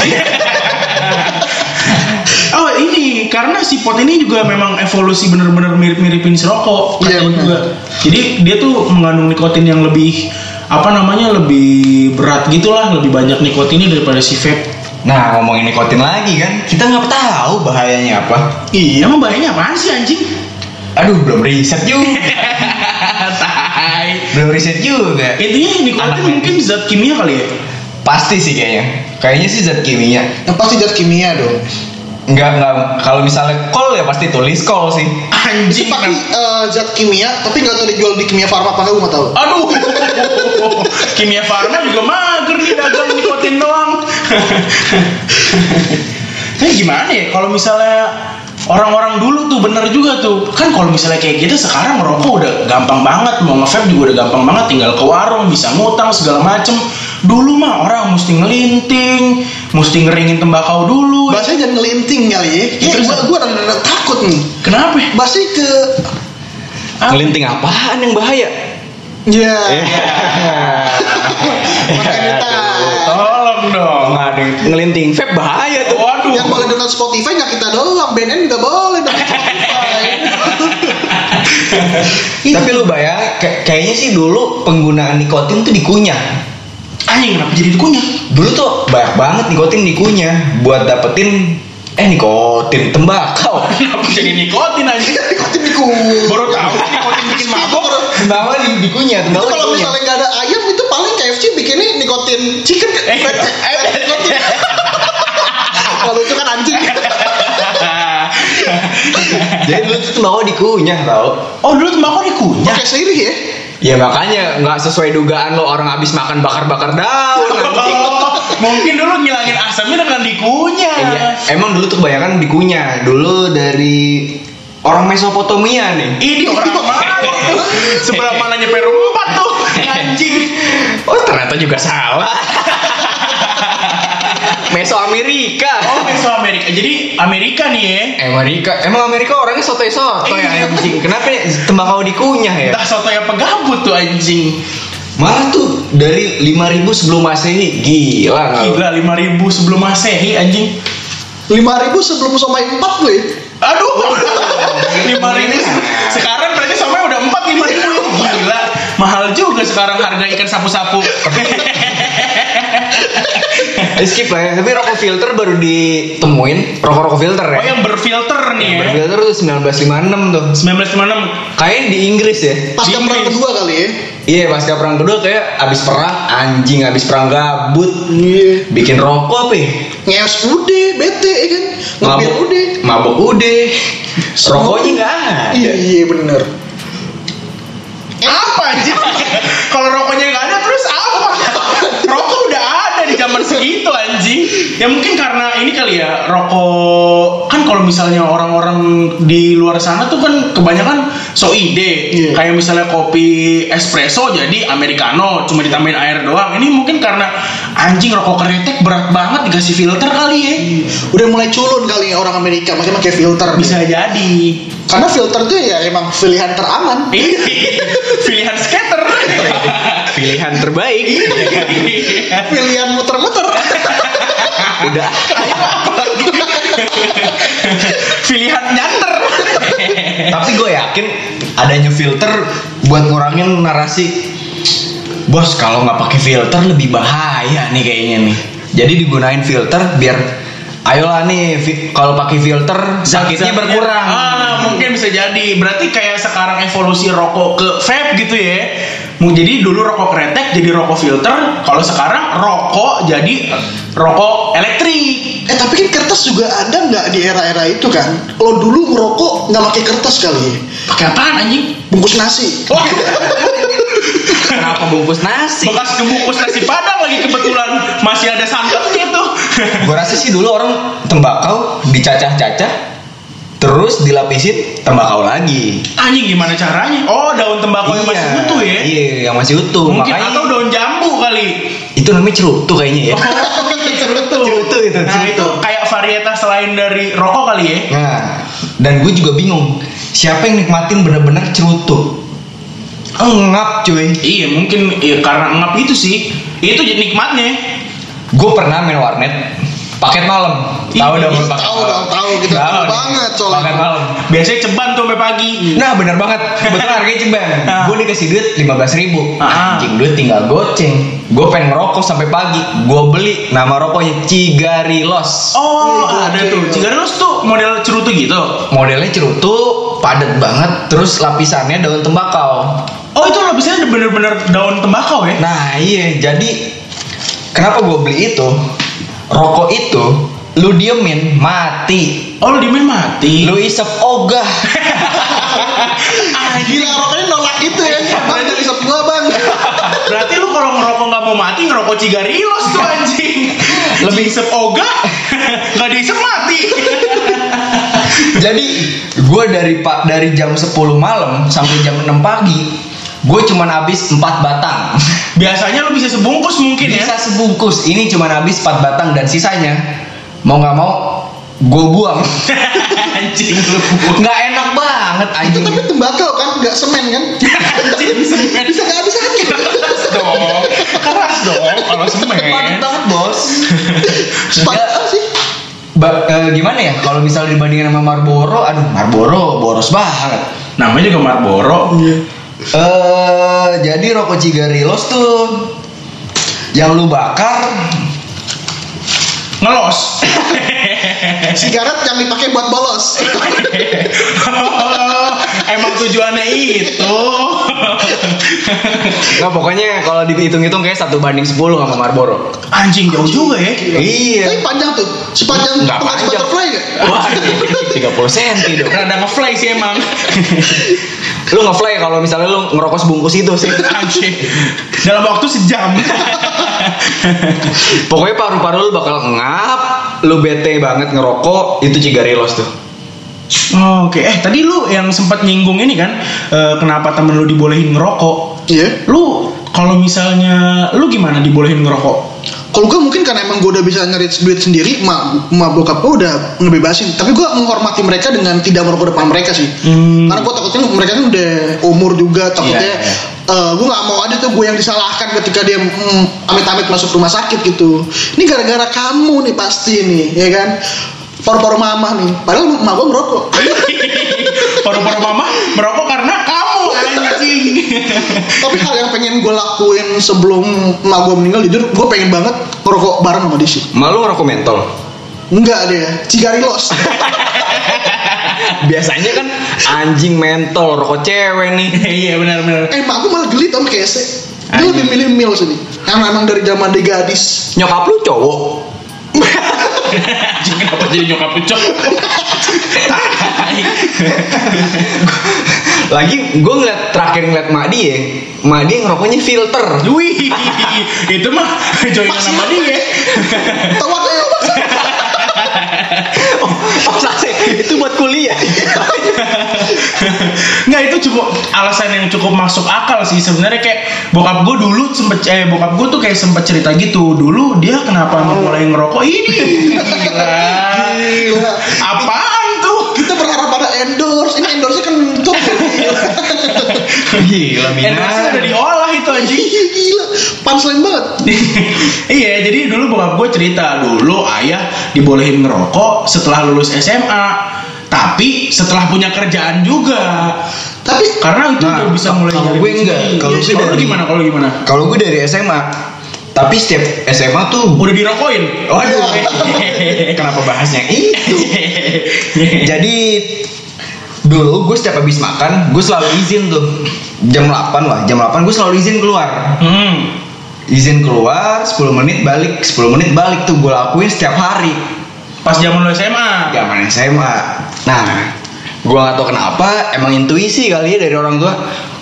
Speaker 4: Oh ini karena si pot ini juga memang evolusi bener-bener mirip-miripin si rokok
Speaker 1: Iya,
Speaker 4: katanya
Speaker 1: bener.
Speaker 4: juga. Jadi dia tuh mengandung nikotin yang lebih apa namanya lebih berat gitulah lebih banyak nikotinnya daripada si vape.
Speaker 2: Nah ngomongin nikotin lagi kan, kita nggak tahu bahayanya apa.
Speaker 4: Iya emang bahayanya apaan sih anjing?
Speaker 2: Aduh belum riset juga,
Speaker 4: Tai.
Speaker 2: belum riset juga.
Speaker 4: Intinya nikotin
Speaker 2: Anak
Speaker 4: mungkin zat kimia kali ya.
Speaker 2: Pasti sih kayaknya, kayaknya sih zat kimia.
Speaker 1: yang pasti zat kimia dong.
Speaker 2: Enggak enggak, kalau misalnya kol ya pasti tulis kol sih.
Speaker 1: Itu
Speaker 4: Anjing.
Speaker 1: pakai eh, zat kimia tapi nggak tahu dijual di kimia farma apa nggak gue nggak tahu.
Speaker 4: Aduh, kimia farma juga mager nih dagang nikotin doang. Tapi gimana ya kalau misalnya orang-orang dulu tuh bener juga tuh kan kalau misalnya kayak gitu sekarang rokok udah gampang banget mau nge juga udah gampang banget tinggal ke warung bisa ngutang segala macem dulu mah orang mesti ngelinting mesti ngeringin tembakau dulu
Speaker 1: Bahasanya jangan ngelinting kali ya. Ya
Speaker 4: Terus-
Speaker 1: gue gue rada takut nih.
Speaker 4: kenapa
Speaker 1: Bahasanya ke
Speaker 2: Ngelinting apaan yang bahaya? Eh.
Speaker 1: ya
Speaker 4: Eh. tolong dong
Speaker 2: Oh, Nggak ada yang- Ngelinting vape bahaya tuh.
Speaker 4: waduh
Speaker 1: yang boleh download Spotify nggak kita doang, BNN juga boleh download Spotify.
Speaker 2: Tapi lu bayang, kayak- kayaknya sih dulu penggunaan nikotin tuh dikunyah.
Speaker 4: anjing kenapa jadi dikunyah
Speaker 2: dulu tuh banyak banget nikotin dikunyah buat dapetin eh nikotin tembakau
Speaker 4: kenapa jadi nikotin anjing
Speaker 1: Ikutin dikunyah.
Speaker 4: baru tahu sih nikotin bikin mabok
Speaker 2: tembakau di- dikunyah
Speaker 1: Nah, Itu
Speaker 2: tembakau
Speaker 1: kalau
Speaker 2: dikunyah
Speaker 1: misalnya nggak ada ayam itu paling KFC bikinnya nikotin chicken
Speaker 4: Eh,
Speaker 1: fried chicken, nikotin. Kalau itu kan anjing.
Speaker 2: jadi dulu tuh tembakau dikunyah tau
Speaker 4: oh dulu tembakau dikunyah
Speaker 1: Pakai sirih ya.
Speaker 2: ya makanya nggak sesuai dugaan lo orang abis makan bakar-bakar daun anjing.
Speaker 4: Oh, mungkin dulu ngilangin asamnya dengan dikunyah
Speaker 2: Iya. emang dulu tuh bayangkan dikunyah dulu dari orang Mesopotamia nih
Speaker 4: ini orang mana tuh? sebelah mana nyampe rumah tuh anjing
Speaker 2: oh ternyata juga salah Meso Amerika Eh,
Speaker 4: oh Meso Amerika jadi Amerika nih ya
Speaker 2: Amerika, emang Amerika orangnya soto-soto
Speaker 4: Iya.
Speaker 2: ya anjing. Kenapa ya tembakau dikunyah ya?
Speaker 4: entah soto yang pegabut tuh anjing
Speaker 2: Malah tuh dari 5000 sebelum masehi, gila nggak lu?
Speaker 4: gila 5000 sebelum masehi anjing
Speaker 1: lima ribu sebelum somai empat gue
Speaker 4: Aduh, lima ribu. Sekarang berarti sampai udah empat lima ribu. Gila, mahal juga sekarang harga ikan sapu-sapu.
Speaker 2: Eh, skip lah ya. Tapi rokok filter baru ditemuin, rokok-rokok filter ya.
Speaker 4: Oh yang berfilter nih ya.
Speaker 2: Filter tuh 1956 tuh.
Speaker 4: 1996
Speaker 2: Kayaknya di Inggris ya.
Speaker 1: pasca
Speaker 4: Di
Speaker 1: perang
Speaker 4: Inggris.
Speaker 1: kedua kali ya
Speaker 2: Iya, pasca perang kedua kayak abis perang anjing, abis perang gabut,
Speaker 1: iya
Speaker 2: bikin rokok apa ya?
Speaker 1: ngeos udah bete ya kan ngebir
Speaker 2: Mabuk
Speaker 1: udah
Speaker 2: mabuk udah. Rokoknya enggak
Speaker 1: iya
Speaker 2: ada.
Speaker 1: iya bener
Speaker 4: apa aja? Kalau rokoknya nggak ada terus apa? Rokok udah ada di zaman segitu anjing. Ya mungkin karena ini kali ya rokok kan kalau misalnya orang-orang di luar sana tuh kan kebanyakan so ide
Speaker 1: Iya.
Speaker 4: kayak misalnya kopi espresso jadi americano cuma ditambahin air doang. Ini mungkin karena anjing rokok keretek berat banget dikasih filter kali ya.
Speaker 1: udah mulai culun kali ya orang Amerika makanya pakai filter
Speaker 4: Bisa jadi.
Speaker 1: karena filter tuh ya emang pilihan teraman
Speaker 4: Ih, Iya. Pilihan skater.
Speaker 2: Pilihan terbaik.
Speaker 1: pilihan muter-muter
Speaker 2: Udah.
Speaker 4: Pilihan nyander.
Speaker 2: Tapi gue yakin adanya filter buat ngurangin narasi. Bos kalau nggak pakai filter lebih bahaya nih kayaknya nih. Jadi digunain filter biar ayolah nih fi- kalau pakai filter sakitnya
Speaker 4: Zatnya
Speaker 2: berkurang.
Speaker 4: Ah, mungkin bisa jadi. Berarti kayak sekarang evolusi rokok ke vape gitu ya. Mau jadi dulu rokok kretek jadi rokok filter, kalau sekarang rokok jadi rokok elektrik.
Speaker 1: eh tapi kan kertas juga ada nggak di era-era itu kan lo dulu ngerokok nggak pakai kertas kali ya
Speaker 4: Pakai apaan anjing?
Speaker 1: bungkus nasi
Speaker 4: Wah,
Speaker 2: Kenapa bungkus nasi?
Speaker 4: bekas kebungkus nasi padang lagi kebetulan masih ada santannya tuh.
Speaker 2: Gue rasa sih dulu orang tembakau dicacah-cacah terus dilapisin tembakau lagi.
Speaker 4: Anjing gimana caranya? Oh, daun tembakau yang masih utuh ya.
Speaker 2: Iya, yang masih utuh.
Speaker 4: Mungkin
Speaker 2: Makanya
Speaker 4: atau daun jambu kali.
Speaker 2: itu namanya cerutu kayaknya ya.
Speaker 4: Cerutu.
Speaker 2: Cerutu itu,
Speaker 4: Nah, itu
Speaker 2: cerutu.
Speaker 4: kayak varietas selain dari rokok kali ya.
Speaker 2: Nah, dan gue juga bingung siapa yang nikmatin bener-bener cerutu. Engap cuy.
Speaker 4: Iya mungkin ya, karena ngap itu sih itu jadi nikmatnya.
Speaker 2: Gue pernah main warnet paket malam. Tahu
Speaker 4: Ih,
Speaker 2: dong lu paket
Speaker 1: tahu
Speaker 2: malam.
Speaker 1: dong tahu kita
Speaker 2: Tahu
Speaker 1: tahu
Speaker 2: nih.
Speaker 1: banget
Speaker 2: Paket
Speaker 1: soalnya
Speaker 2: malam.
Speaker 4: Biasanya ceban tuh sampai pagi.
Speaker 2: Nah bener banget Kebetulan harganya ceban
Speaker 4: Ah.
Speaker 2: Gue dikasih duit 15 ribu
Speaker 4: Ah.
Speaker 2: Anjing duit tinggal goceng Gue pengen ngerokok sampai pagi Gue beli Nama rokoknya Cigarilos
Speaker 4: Oh,
Speaker 1: Wih,
Speaker 4: ada
Speaker 1: gokil.
Speaker 4: tuh. Cigarillos tuh model cerutu gitu.
Speaker 2: Modelnya cerutu Padat banget Terus lapisannya daun tembakau
Speaker 4: Oh itu lapisannya bener-bener daun tembakau ya?
Speaker 2: Nah iya jadi Kenapa gue beli itu Rokok itu Lu diemin mati
Speaker 4: Oh lu dimin mati.
Speaker 2: Lu isep ogah
Speaker 1: ah gila rokoknya nolak itu ya
Speaker 2: Iya,
Speaker 1: bang dari sub gua bang
Speaker 4: Ah, Berarti lu kalau ngerokok nggak mau mati ngerokok cigarillos tuh anjing. Lebih isep oga, nggak diisep mati.
Speaker 2: Jadi gue dari pak dari jam 10 malam sampai jam 6 pagi gue cuman habis 4 batang.
Speaker 4: Biasanya lu bisa sebungkus mungkin
Speaker 2: Bisa
Speaker 4: ya.
Speaker 2: sebungkus. Ini cuman habis 4 batang dan sisanya mau nggak mau gue buang.
Speaker 4: anjing lu.
Speaker 2: Nggak enak banget
Speaker 1: itu
Speaker 2: anjing.
Speaker 1: tapi tembakau kan nggak semen kan
Speaker 4: Anjing bisa
Speaker 1: bisa nggak habis habis
Speaker 4: dong. Keras dong kalau ya.
Speaker 2: Padat
Speaker 4: semen.
Speaker 2: banget bos.
Speaker 1: Sepakat apa sih
Speaker 2: Ba- eh, gimana ya kalau misalnya dibandingkan sama Marlboro, aduh Marlboro boros banget.
Speaker 4: Namanya juga Marlboro.
Speaker 2: Eh jadi rokok Cigarillos tuh yang lu bakar
Speaker 4: Ngelos.
Speaker 1: sigaret yang dipakai buat bolos
Speaker 2: Iya.
Speaker 4: Oh, Emang tujuannya itu.
Speaker 2: Nah pokoknya kalau dihitung-hitung kayak satu banding 10 sama Marlboro.
Speaker 4: Anjing jauh juga ya.
Speaker 1: tapi
Speaker 2: Iya.
Speaker 1: panjang tuh sepanjang
Speaker 2: Nggak
Speaker 1: pengaji
Speaker 2: panjang.
Speaker 1: butterfly nggak
Speaker 4: Wah,
Speaker 2: 30 cm dong.
Speaker 4: rada ngefly sih emang.
Speaker 2: Lu nge-fly ya, kalau misalnya lu ngerokok sebungkus itu sih.
Speaker 4: Anjing. Dalam waktu sejam.
Speaker 2: Pokoknya paru-paru lu bakal ngap, lu bete banget ngerokok, itu cigarillos tuh.
Speaker 4: Oh, Oke, eh tadi lu yang sempat nyinggung ini kan eh, kenapa temen lu dibolehin ngerokok?
Speaker 1: iya
Speaker 4: Lu kalau misalnya lu gimana dibolehin ngerokok?
Speaker 1: kalau gue mungkin karena emang gue udah bisa nyari duit sendiri mak ma bokap gue udah ngebebasin tapi gue menghormati mereka dengan tidak merokok depan mereka sih
Speaker 4: Hmm.
Speaker 1: karena gue takutnya mereka kan udah umur juga takutnya
Speaker 4: Iya, iya.
Speaker 1: eh, gue nggak mau ada tuh gue yang disalahkan ketika dia mm, amit-amit masuk rumah sakit gitu ini gara-gara kamu nih pasti nih ya kan paru-paru mama nih padahal mama gua merokok
Speaker 4: Paru-paru mama merokok karena kamu anjing.
Speaker 1: tapi hal yang pengen gue lakuin sebelum emak gue meninggal jujur gue pengen banget ngerokok bareng sama Desi
Speaker 5: Malu ngerokok mentol.
Speaker 1: enggak deh cigarillos
Speaker 5: Biasanya kan anjing mentol rokok cewek nih.
Speaker 4: Iya benar-benar.
Speaker 1: eh emak gue malah geli tau kese dia lebih milih mil sini yang memang dari zaman dia gadis
Speaker 5: Nyokap lu cowok.
Speaker 4: Anjing kenapa jadi nyokap lu, Cok?
Speaker 5: Lagi gue ngeliat terakhir ngeliat mak dia, mak dia ngerokoknya filter.
Speaker 4: Wih, itu mah join sama dia.
Speaker 1: tawa kayak
Speaker 5: Oh, sase, itu buat kuliah.
Speaker 4: Nggak itu cukup alasan yang cukup masuk akal sih sebenarnya kayak bokap gue dulu sempet eh bokap gue tuh kayak sempet cerita gitu dulu dia kenapa mulai ngerokok ini gila
Speaker 1: Gila.
Speaker 4: apaan tuh
Speaker 1: kita berharap pada endorse ini endorse kan kentut
Speaker 5: Gila,
Speaker 4: endorse udah diolah itu anjing
Speaker 1: Iya, gila punchline banget
Speaker 4: iya jadi dulu bokap gue cerita dulu ayah dibolehin ngerokok setelah lulus SMA tapi setelah punya kerjaan juga
Speaker 1: tapi
Speaker 4: karena itu
Speaker 2: Nah,
Speaker 4: udah bisa mulai
Speaker 2: kalau
Speaker 4: nyari
Speaker 2: gue
Speaker 4: duit
Speaker 2: enggak.
Speaker 4: sendiri.
Speaker 2: Kalau gue
Speaker 4: kalau lu
Speaker 2: dari-
Speaker 4: gimana kalau lu gimana
Speaker 2: Kalau gue dari SMA, tapi setiap SMA tuh
Speaker 4: udah dirokokin
Speaker 2: Waduh. kenapa bahasnya itu? Jadi dulu gue setiap habis makan, gue selalu izin tuh jam 8 lah, jam 8 gue selalu izin keluar.
Speaker 4: hmm.
Speaker 2: Izin keluar, 10 menit balik, 10 menit balik tuh gue lakuin setiap hari.
Speaker 4: pas zaman lu SMA
Speaker 2: Zaman SMA. Nah, gue gak tau kenapa, emang intuisi kali ya dari orang tua.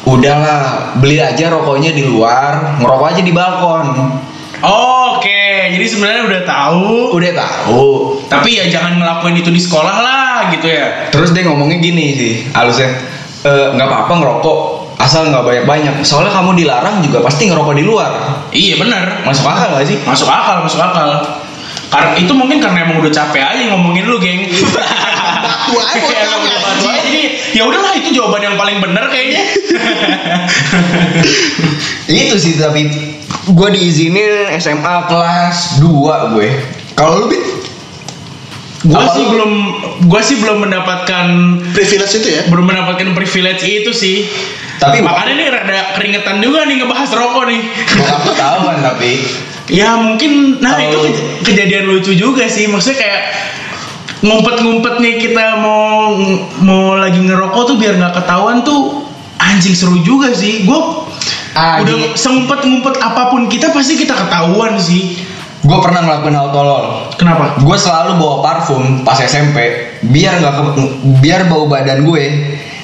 Speaker 2: Udahlah, beli aja rokoknya di luar, ngerokok aja di balkon.
Speaker 4: oke jadi sebenarnya udah tahu
Speaker 2: Udah tahu,
Speaker 4: tapi ya jangan ngelakuin itu di sekolah lah gitu ya
Speaker 2: Terus dia ngomongnya gini sih, halusnya "Eh, nggak apa-apa ngerokok asal nggak banyak-banyak. Soalnya kamu dilarang juga pasti ngerokok di luar.
Speaker 4: iya bener
Speaker 2: Masuk akal gak sih?
Speaker 4: masuk akal masuk akal karena itu mungkin karena emang udah capek aja ngomongin lu geng
Speaker 2: Iya.
Speaker 1: batu aja
Speaker 4: Emang
Speaker 1: bocahnya,
Speaker 4: udah batu aja.
Speaker 1: anjing.
Speaker 4: Jadi, ya udahlah itu jawaban yang paling bener kayaknya
Speaker 2: Itu sih tapi gue diizinin SMA kelas 2 gue. Kalau lu Bit?
Speaker 4: gue
Speaker 2: Apa
Speaker 4: sih
Speaker 2: lu?
Speaker 4: belum gue sih belum mendapatkan
Speaker 1: privilege itu ya
Speaker 4: belum mendapatkan privilege itu sih.
Speaker 2: Tapi-
Speaker 4: makanya nih rada keringetan juga nih ngebahas rokok nih.
Speaker 2: Bokap lu tahu kan tapi
Speaker 4: ya mungkin nah itu
Speaker 2: Kalau-
Speaker 4: kej- kejadian lucu juga sih. Maksudnya kayak ngumpet-ngumpetnya kita mau mau lagi ngerokok tuh biar nggak ketahuan tuh anjing seru juga sih. Gue
Speaker 2: Ah,
Speaker 4: udah seumpet-ngumpet apapun kita pasti kita ketahuan sih.
Speaker 2: gue pernah ngelakuin hal tolol.
Speaker 4: Kenapa?
Speaker 2: Gue selalu bawa parfum pas SMP biar nggak ke- biar bau badan gue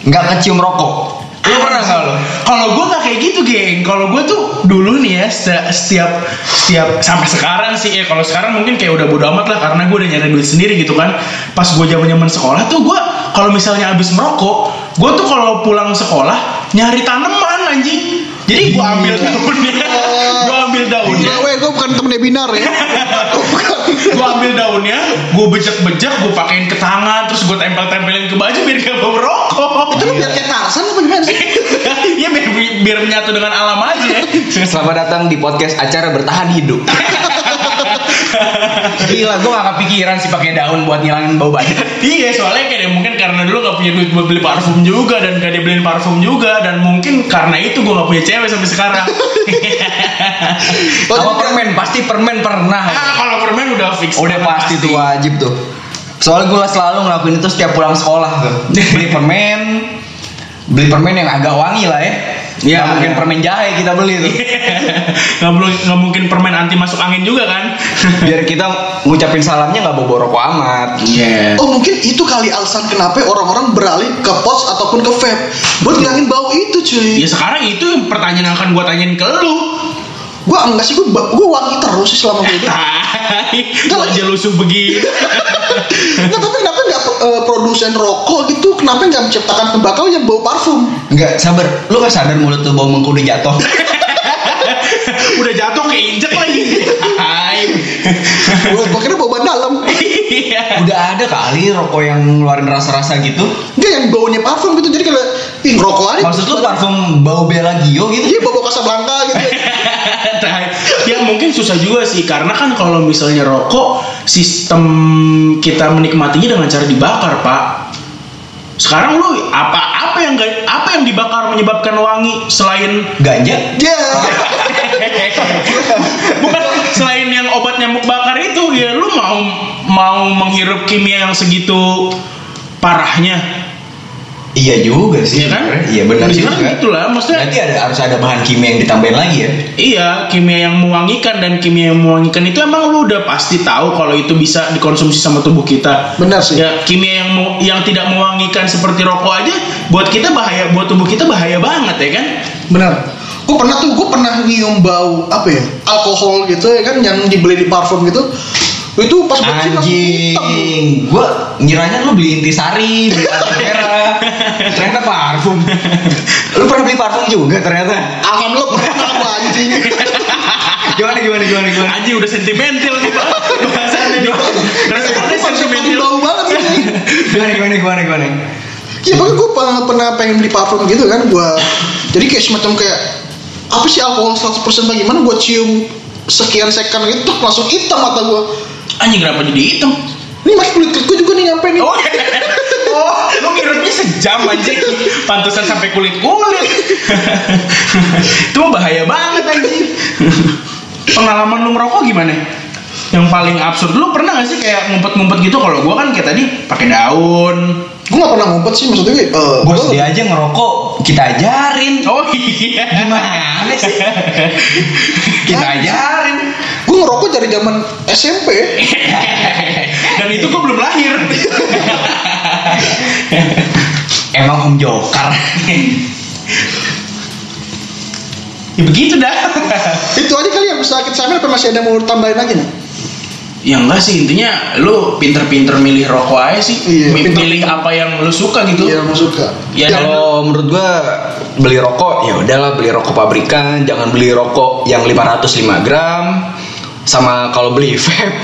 Speaker 2: nggak kecium rokok. Lu pernah nggak lo?
Speaker 4: Kalau gue nggak kayak gitu, geng. Kalau gue tuh dulu nih ya se- setiap setiap sampai sekarang sih ya. Kalau sekarang mungkin kayak udah bodo amat lah karena gue udah nyari duit sendiri gitu kan. Pas gue zaman zaman sekolah tuh gue kalau misalnya abis merokok, gue tuh kalau pulang sekolah nyari tanaman anjing. Jadi gue ambil
Speaker 1: Iya.
Speaker 4: daunnya, gue ambil daunnya,
Speaker 1: Nah, weh, gue bukan temennya binar ya. bukan.
Speaker 4: gue ambil daunnya, gue bejek-bejek, gue pakein ke tangan, terus gue tempel-tempelin ke baju biar gak bau merokok.
Speaker 1: Itu lu biar kayak Tarzan apa gimana sih?
Speaker 4: ya biar, biar menyatu dengan alam aja.
Speaker 5: Selamat datang di podcast acara bertahan hidup.
Speaker 2: Gila, gue gak kepikiran sih pakai daun buat ngilangin bau badan.
Speaker 4: Iya soalnya kayak mungkin karena dulu gak punya duit buat beli parfum juga dan gak dibeliin parfum juga dan mungkin karena itu gue gak punya cewek sampai sekarang.
Speaker 1: Oh,
Speaker 2: Apa
Speaker 1: jadi-
Speaker 2: permen? Pasti permen pernah.
Speaker 4: ah kalau permen udah fix.
Speaker 2: Udah pasti tuh wajib tuh. Soalnya gue selalu ngelakuin itu setiap pulang sekolah tuh. Beli permen, beli permen yang agak wangi lah ya.
Speaker 4: Iya.
Speaker 2: Ya, mungkin permen jahe kita beli tuh.
Speaker 4: gak, belum, gak mungkin permen anti masuk angin juga kan?
Speaker 2: Biar kita ngucapin salamnya nggak bobo rokok amat.
Speaker 4: Iya.
Speaker 1: Oh mungkin itu kali alasan kenapa orang-orang beralih ke pos ataupun ke vape buat ngilangin bau itu cuy.
Speaker 4: Ya sekarang itu yang pertanyaan yang akan gue tanyain ke lu.
Speaker 1: Gue enggak sih gue gue wangi terus sih selama gue hidup.
Speaker 4: Tai, lu aja lusuh begini.
Speaker 1: Nggak, tapi kenapa nggak eh, produsen rokok gitu? Kenapa nggak menciptakan tembakau yang bau parfum?
Speaker 2: Enggak, sabar. Lu gak sadar mulut tuh bau mengkudu jatuh.
Speaker 4: udah jatuh keinjek lagi. Tai.
Speaker 1: Gue gue kira bau ban dalam.
Speaker 4: Iya.
Speaker 2: Udah ada kali rokok yang ngeluarin rasa-rasa gitu.
Speaker 1: Nggak yang baunya parfum gitu. Jadi kalau ih
Speaker 2: Eh,
Speaker 1: ngerokok aja.
Speaker 2: Maksud lu parfum bau Bellagio gitu?
Speaker 1: Iya bau bau kasar gitu.
Speaker 4: Tai. ya ya mungkin susah juga sih karena kan kalau misalnya rokok sistem kita menikmatinya dengan cara dibakar pak sekarang lu apa apa yang ga- apa yang dibakar menyebabkan wangi selain
Speaker 2: Ganja?
Speaker 1: Ya.
Speaker 4: bukan selain yang obat nyamuk bakar itu ya lu mau mau menghirup kimia yang segitu parahnya
Speaker 2: Iya juga sih.
Speaker 4: Iya kan?
Speaker 2: Iya benar
Speaker 4: Bener
Speaker 2: juga.
Speaker 4: gitu lah, maksudnya-
Speaker 2: Berarti ada harus ada bahan kimia yang ditambahin lagi ya.
Speaker 4: Iya, kimia yang mewangikan dan kimia yang mewangikan itu emang lu udah pasti tahu kalau itu bisa dikonsumsi sama tubuh kita.
Speaker 1: Benar sih.
Speaker 4: Ya, kimia yang mau- yang tidak mewangikan seperti rokok aja buat kita bahaya, buat tubuh kita bahaya banget ya kan?
Speaker 1: Benar. Gue pernah tuh, gue pernah nyium bau apa ya? Alkohol gitu ya kan yang dibeli di parfum gitu. Itu pas buat sih langsung hitam.
Speaker 2: Anjing, gua ngiranya lu beli intisari, beli aloe merah. ternyata parfum. Lu pernah beli parfum juga ternyata.
Speaker 1: Alhamdulillah pernah gua, anjing.
Speaker 2: Gimana gimana gimana gimana.
Speaker 4: Anjing udah sentimental nih Pak. bahasannya nih.
Speaker 1: Iya.
Speaker 4: Responnya
Speaker 1: Sentimental
Speaker 4: sentimental.
Speaker 1: bau banget sih.
Speaker 2: Gimana gimana gimana gimana.
Speaker 1: Ya bahkan gue pernah, pernah pengen beli parfum gitu kan gue Jadi kayak semacam kayak Apa sih alkohol 100% bagaimana gue cium sekian second gitu tuk, langsung hitam mata gue
Speaker 4: Anjing kenapa jadi hitam?
Speaker 1: Ini masih kulit gue juga nih nyampe nih
Speaker 4: Oh, oh, lu ngirupnya sejam anjing. Pantesan sampai kulit-kulit. Itu mah bahaya banget anjing. Pengalaman lu merokok gimana? Yang paling absurd lu pernah gak sih kayak ngumpet-ngumpet gitu kalau gua kan kayak tadi pakai daun.
Speaker 1: Gue gak pernah ngumpet sih maksudnya eh
Speaker 2: Bos
Speaker 1: gua-
Speaker 2: dia aja ngerokok, kita ajarin.
Speaker 4: Oh iya.
Speaker 2: Gimana sih? Kita ajarin.
Speaker 1: Gue ngerokok dari zaman SMP
Speaker 4: Dan itu gua belum lahir.
Speaker 2: Emang Om Joker.
Speaker 4: ya begitu dah.
Speaker 1: Itu aja kali ya, yang bisa kita sambil apa masih ada yang mau tambahin lagi nih
Speaker 4: Ya enggak sih intinya lu pinter-pinter milih rokok aja sih.
Speaker 1: Iya,
Speaker 4: Mi-
Speaker 1: pinter.
Speaker 4: Milih apa yang lu suka gitu.
Speaker 1: Iya mau suka
Speaker 4: Ya,
Speaker 1: Yang-
Speaker 2: Kalau menurut gua beli rokok ya udahlah beli rokok pabrikan, jangan beli rokok yang 505 gram. Sama kalau beli vape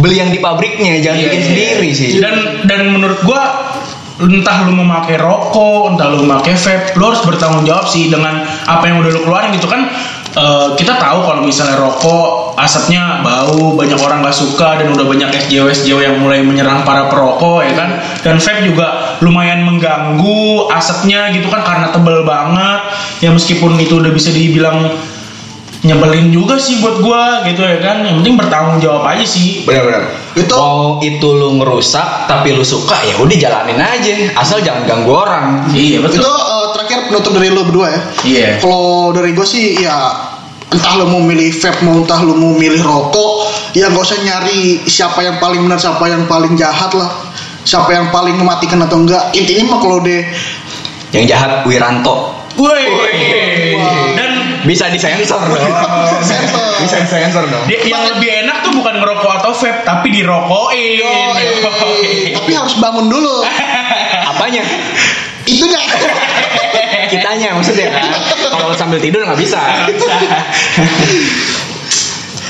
Speaker 2: beli yang di pabriknya, jangan Kan bikin sendiri sih.
Speaker 4: Iya, Dan dan menurut gua entah lu memakai rokok, entah lu memakai vape, lu harus bertanggung jawab sih dengan apa yang udah lu keluarin gitu kan. Eh, kita tahu kalau misalnya rokok asapnya bau, banyak orang gak suka dan udah banyak SJW SJW yang mulai menyerang para perokok ya kan. Dan vape juga lumayan mengganggu asapnya gitu kan karena tebel banget. Ya meskipun itu udah bisa dibilang nyebelin juga sih buat gua gitu ya kan. Yang penting bertanggung jawab aja sih.
Speaker 2: Benar-benar.
Speaker 1: Itu-
Speaker 2: Mau itu lu ngerusak tapi lu suka ya udah jalanin aja, asal jangan ganggu orang.
Speaker 4: Iya
Speaker 1: Itu eh, terakhir penutup dari lo berdua ya
Speaker 4: Iya.
Speaker 1: Kalau dari gue sih ya entah lo mau milih vape mau entah lo mau milih rokok ya gak usah nyari siapa yang paling benar siapa yang paling jahat lah siapa yang paling mematikan atau enggak intinya mah kalau deh
Speaker 2: Yang jahat Wiranto.
Speaker 4: Woi.
Speaker 1: Woi.
Speaker 4: Dan
Speaker 2: Bisa disensor dong.
Speaker 1: Sensor.
Speaker 2: Bisa disensor dong.
Speaker 4: di- yang lebih enak tuh bukan ngerokok atau vape, tapi dirokokin.
Speaker 1: Yoi. tapi harus bangun dulu
Speaker 2: Apanya?
Speaker 1: itu dah
Speaker 2: Kitanya maksudnya kan. Kalau sambil tidur nggak bisa.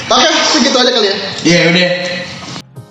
Speaker 1: oke segitu aja kali ya
Speaker 4: Ya udah.